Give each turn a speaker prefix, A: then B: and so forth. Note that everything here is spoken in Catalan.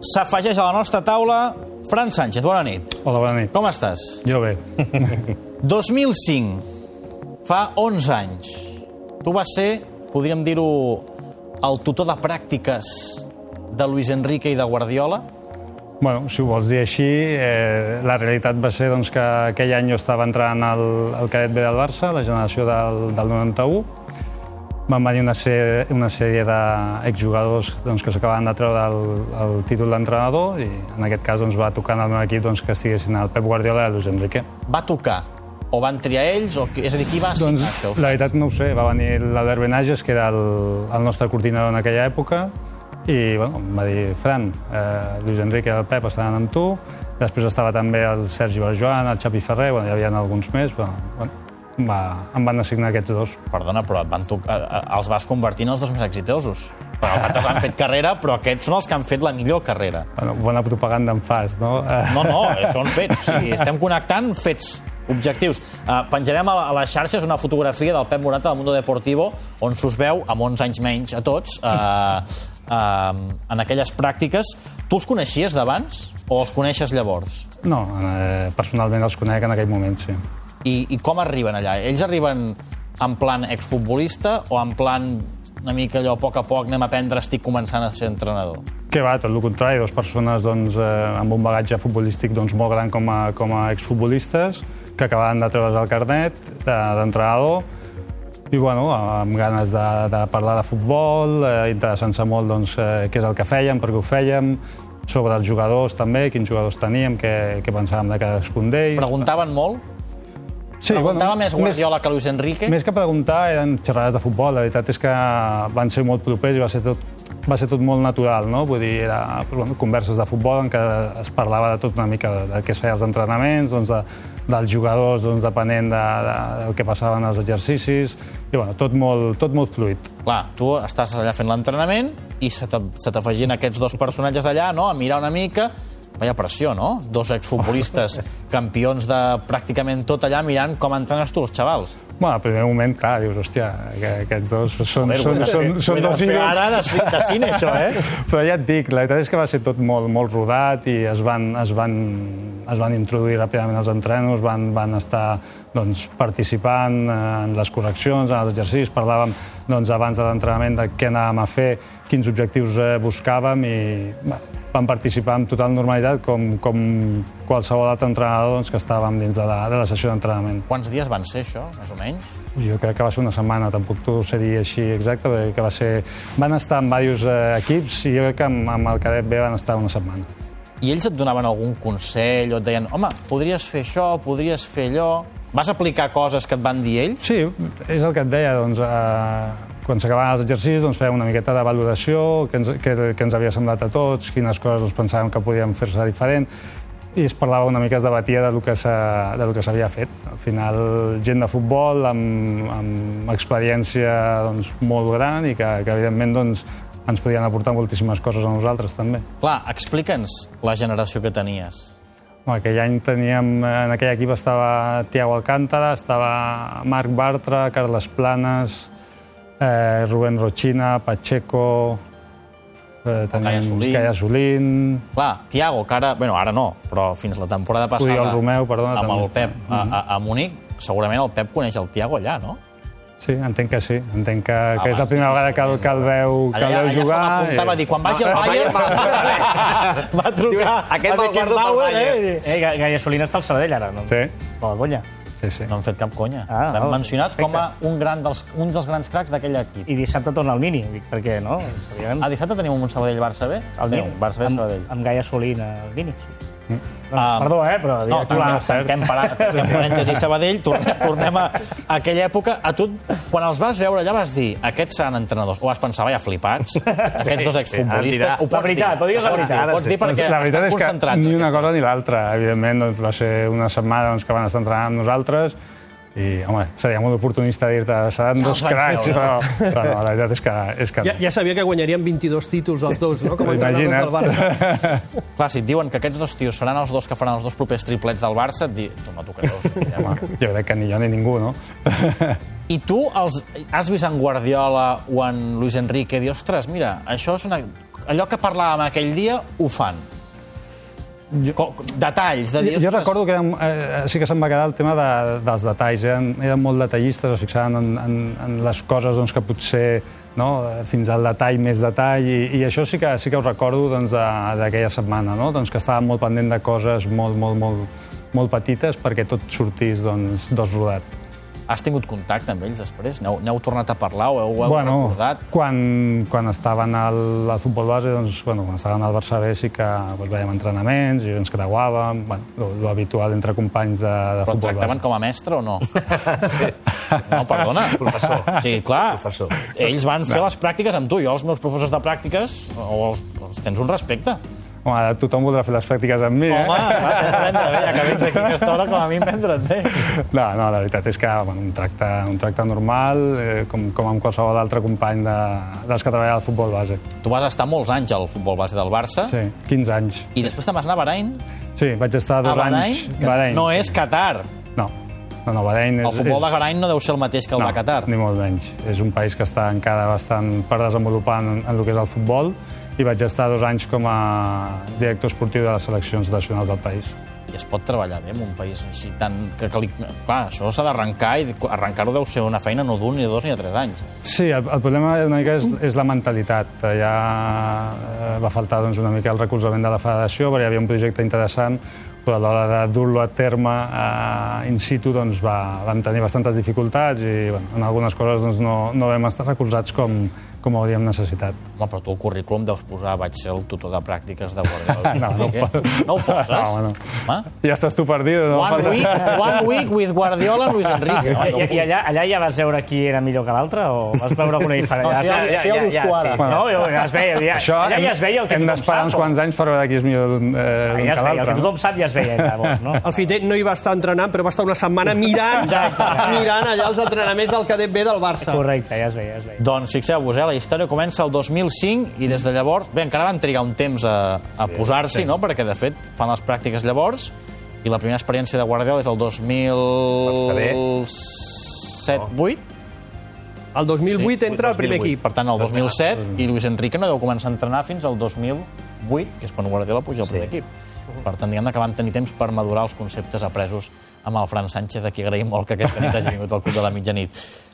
A: S'afegeix a la nostra taula Fran Sánchez, bona nit.
B: Hola, bona nit.
A: Com estàs?
B: Jo bé.
A: 2005, fa 11 anys. Tu vas ser, podríem dir-ho, el tutor de pràctiques de Luis Enrique i de Guardiola.
B: bueno, si ho vols dir així, eh, la realitat va ser doncs, que aquell any jo estava entrant al, al cadet B del Barça, la generació del, del 91. Van venir una sèrie, una sèrie d'exjugadors doncs, que s'acabaven de treure el, el títol d'entrenador i en aquest cas doncs, va tocar en el meu equip doncs, que estiguessin el Pep Guardiola i el Luis Enrique.
A: Va tocar o van triar ells, o... qui- és a dir, qui va
B: Doncs,
A: signar això?
B: la veritat no ho sé, va venir l'Albert Benages, que era el, el nostre coordinador en aquella època, i bueno, em va dir, Fran, eh, Lluís Enrique i el Pep estaran amb tu, després estava també el Sergi Barjoan, el Xapi Ferrer, bueno, hi havia alguns més, però, bueno, em va, em van assignar aquests dos.
A: Perdona, però et van tocar, eh, els vas convertir en els dos més exitosos. Però els altres han fet carrera, però aquests són els que han fet la millor carrera.
B: Bueno, bona propaganda en fas, no? Eh,
A: No, no, són fets. O sigui, estem connectant fets objectius. Uh, penjarem a, la- a les xarxes una fotografia del Pep Morata del Mundo Deportivo on s'us veu, amb 11 anys menys a tots, uh, uh, en aquelles pràctiques. Tu els coneixies d'abans o els coneixes llavors?
B: no, eh, personalment els conec en aquell moment, sí.
A: I, I com arriben allà? Ells arriben en plan exfutbolista o en plan una mica allò, a poc a poc, anem a aprendre, estic començant a ser entrenador?
B: Que va, tot el contrari, dues persones doncs, eh, amb un bagatge futbolístic doncs, molt gran com a, com a exfutbolistes, que acabaven de treure's el carnet de- d'entrenador, i bueno, amb ganes de, de parlar de futbol, eh, interessant-se molt doncs, eh, què és el que fèiem, per què ho fèiem, sobre els jugadors també, quins jugadors teníem, què, què pensàvem de cadascun d'ells.
A: Preguntaven molt?
B: Sí,
A: Preguntava més
B: més,
A: Guardiola que Luis Enrique?
B: més que preguntar eren xerrades de futbol, la veritat és que van ser molt propers i va ser tot, va ser tot molt natural, no? Vull dir, era bueno, converses de futbol en què es parlava de tot una mica, de, de què es feia als entrenaments, doncs de, dels jugadors, doncs depenent de, de, del que passaven als exercicis, i bueno, tot molt, tot molt fluid.
A: Clar, tu estàs allà fent l'entrenament i se t'af- se t'afegien aquests dos personatges allà, no?, a mirar una mica. Vaya pressió, no? Dos exfutbolistes campions de pràcticament tot allà mirant com entrenes tu els xavals.
B: Bueno, al primer moment, clar, dius, hòstia, que aquests dos són,
A: Joder, ho he
B: són,
A: de
B: són,
A: fer- ho
B: són
A: he de
B: dos
A: fer
B: ídols.
A: Ara de, ci- de cine, això, eh?
B: Però ja et dic, la veritat és que va ser tot molt, molt rodat i es van, es van, es van introduir ràpidament als entrenos, van, van estar doncs, participant eh, en les correccions, en els exercicis, parlàvem doncs, abans de l'entrenament de què anàvem a fer, quins objectius eh, buscàvem i va, van participar amb total normalitat com, com qualsevol altre entrenador doncs, que estàvem dins de la, de la sessió d'entrenament.
A: Quants dies van ser, això, més o menys?
B: Jo crec que va ser una setmana, tampoc t'ho sé dir així exacte, perquè que va ser... van estar en diversos eh, equips i jo crec que amb, amb el cadet B van estar una setmana.
A: I ells et donaven algun consell o et deien, home, podries fer això, podries fer allò... Vas aplicar coses que et van dir ells?
B: Sí, és el que et deia, doncs, eh, quan s'acabaven els exercicis doncs, fèiem una miqueta de valoració, què ens, què, què ens havia semblat a tots, quines coses doncs, pensàvem que podíem fer-se diferent, i es parlava una mica, es debatia del que s'ha- del que s'havia fet. Al final, gent de futbol amb, amb experiència doncs, molt gran i que, que evidentment doncs, ens podien aportar moltíssimes coses a nosaltres també.
A: Clar, explica'ns la generació que tenies.
B: Bueno, Aquell any teníem, eh, en aquell equip estava Tiago Alcántara, estava Marc Bartra, Carles Planes, eh, Rubén Rochina, Pacheco... Eh, teníem
A: Solín.
B: Caia Solín...
A: Clar, Tiago, que ara, bueno, ara no, però fins la temporada passada...
B: Oriol Romeu, perdona,
A: Amb
B: també
A: el
B: està.
A: Pep a, a, a Munic, segurament el Pep coneix el Tiago allà, no?
B: Sí, entenc que sí. Entenc que, que és
A: Ah,
B: la
A: Abans,
B: primera vegada que el, que el veu, que
A: Allà,
B: el
A: allà,
B: veu
A: allà se
B: jugar.
A: m'apuntava a dir, quan vagi al Bayern... va trucar
C: "Aquest me'l guardo pel Bayern".
A: eh?
C: Eh, Ga- Gaia Solina està al Sabadell, ara, no?
B: Sí,
C: Bona conya.
B: sí, sí.
A: No han fet cap conya. Ah,
C: Ah,
A: L'han
C: val,
A: mencionat
C: perfecte.
A: com a un, gran dels, un dels grans cracs d'aquell equip.
C: I dissabte torna al Mini, dic, perquè, no? Sabíem...
A: Ah, dissabte tenim un Sabadell-Barça B?
C: al
A: Déu, Barça-B-Sabadell.
C: Amb, amb Gaia Solina al Mini. Sí. Doncs,
A: Ah.
C: Perdó, eh, però...
A: No,
C: dic, clar,
A: tanquem, tanquem, para- tanquem parèntesi Sabadell, tornem, tornem a a aquella època. A tu, quan els vas veure allà, vas dir, aquests seran entrenadors. O vas pensar, vaja, flipats, aquests dos exfutbolistes.
C: ara dirà-
A: Ho pots
C: La veritat,
A: dir,
C: ho digues la
A: ho pots
C: veritat.
A: dir, ho Pots dir perquè
B: la veritat
A: estan
B: és que
A: concentrats.
B: ni
A: eh?
B: una cosa ni l'altra. Evidentment, doncs, va ser una setmana doncs, que van estar entrenant amb nosaltres i, home, seria molt oportunista dir-te seran
A: Ja
B: dos
A: els vaig
B: cracs,
A: veure.
B: però, però no, la veritat és que, és que
D: Ja,
B: no.
D: ja sabia que guanyarien 22 títols els dos, no? Com a entrenadors
B: Imagina't.
D: del Barça.
A: Clar, si et diuen que aquests dos tios seran els dos que faran els dos propers triplets del Barça, et di... tu no t'ho creus. ja, home.
B: Jo crec que ni jo ni ningú, no?
A: I tu els has vist en Guardiola o en Luis Enrique dir, ostres, mira, això és una... allò que parlàvem aquell dia ho fan. Co- detalls de dir...
B: Jo, jo
A: "Ostres,
B: recordo que érem, eh, sí que se'm va quedar el tema de, dels detalls. Eren, eren molt detallistes, es fixaven en, en, en les coses doncs, que potser no, eh, fins al detall, més detall, i, i això sí que, sí que ho recordo doncs, de- d'aquella setmana, no? doncs, que estava molt pendent de coses molt, molt, molt, molt petites perquè tot sortís doncs, desrodat.
A: Has tingut contacte amb ells després? N'heu, n'heu tornat a parlar o heu, heu recordat?
B: Quan, quan estaven al, al futbol base, doncs, bueno, quan estaven al Barça B sí que doncs, vèiem entrenaments i ens creuàvem, bueno, lo, lo habitual entre companys de,
A: Però
B: de
A: et
B: futbol
A: tractaven
B: base.
A: com a mestre o no? No, perdona. Professor. Sí, clar.
E: Professor.
A: Ells van fer les pràctiques amb tu. Jo, els meus professors de pràctiques, o els, els tens un respecte.
B: Home, ara tothom voldrà fer les pràctiques amb mi,
A: Home,
B: eh?
A: clar, t'has de vendre bé, ja que vens aquí a aquesta hora, com a mi, vendre't bé.
B: No, no, la veritat és que bueno, un, tracte, un tracte normal, eh, com, com amb qualsevol altre company de, dels que treballa al futbol base.
A: Tu vas estar molts anys al futbol base del Barça sí.
B: Sí, 15 anys.
A: i després te'n vas anar a Bahrain.
B: Sí, vaig estar
A: A
B: dos
A: Bahrain,
B: anys...
A: que no és Qatar.
B: No, no, no Bahrain és...
A: El futbol
B: és...
A: de Bahrain no deu ser el mateix que el de Qatar.
B: Ni molt menys. És un país que està encara bastant per desenvolupar en, en el que és el futbol i vaig estar dos anys com a director esportiu de les seleccions nacionals del país.
A: I es pot treballar bé en un país així tan... Que, que li... Clar, això s'ha d'arrencar i arrencar-ho deu ser una feina no d'un, ni de dos, ni de tres anys.
B: Sí, el, el problema una mica és, és la mentalitat. Ja eh, va faltar doncs, una mica el recolzament de la federació, perquè hi havia un projecte interessant, però a l'hora de dur-lo a terme eh, in situ doncs, va, vam tenir bastantes dificultats i bueno, en algunes coses doncs, no, no vam estar recolzats com, com hauríem necessitat.
A: Home, però tu al currículum deus posar vaig ser el tutor de pràctiques de Guardiola.
B: No, no ho
A: Què?
B: poso.
A: no ho poses?
B: No, home, no.
A: Home,
B: Ah, Ja estàs tu perdido. No?
A: one,
B: Falta-
A: week, one week with Guardiola Luis Enrique.
C: I, i, i allà, allà ja vas veure qui era millor que l'altre o vas veure alguna diferència?
A: No, sí,
C: ja,
A: sí, ho dius tu ara.
C: sí. No, jo, ja es veia. Ja,
B: Això
C: allà
B: hem,
C: ja es veia el que
B: hem
C: tothom
B: d'esperar
C: sap,
B: uns
C: o-
B: quants anys per veure qui és millor eh, que
C: Ja es veia, el
B: l'altre.
C: que
B: no?
C: tothom sap ja es veia llavors, no?
D: El Fité no hi va estar entrenant, però va estar una setmana mirant,
C: Exacte.
D: mirant allà els entrenaments del cadet B del Barça.
C: Correcte, ja es veia, ja es veia.
A: Doncs fixeu-vos, eh, la història comença el 2005 i des de llavors... Bé, encara van trigar un temps a, a posar-s'hi, no?, perquè de fet fan les pràctiques llavors i la primera experiència de Guardiola és el 2007-8.
D: El 2008 entra al primer equip.
A: Per tant, el 2007, i Luis Enrique no deu començar a entrenar fins al 2008, que és quan Guardiola puja al primer equip. Per tant, diguem que van tenir temps per madurar els conceptes apresos amb el Fran Sánchez, a qui agraïm molt que aquesta nit hagi vingut al Club de la Mitjanit.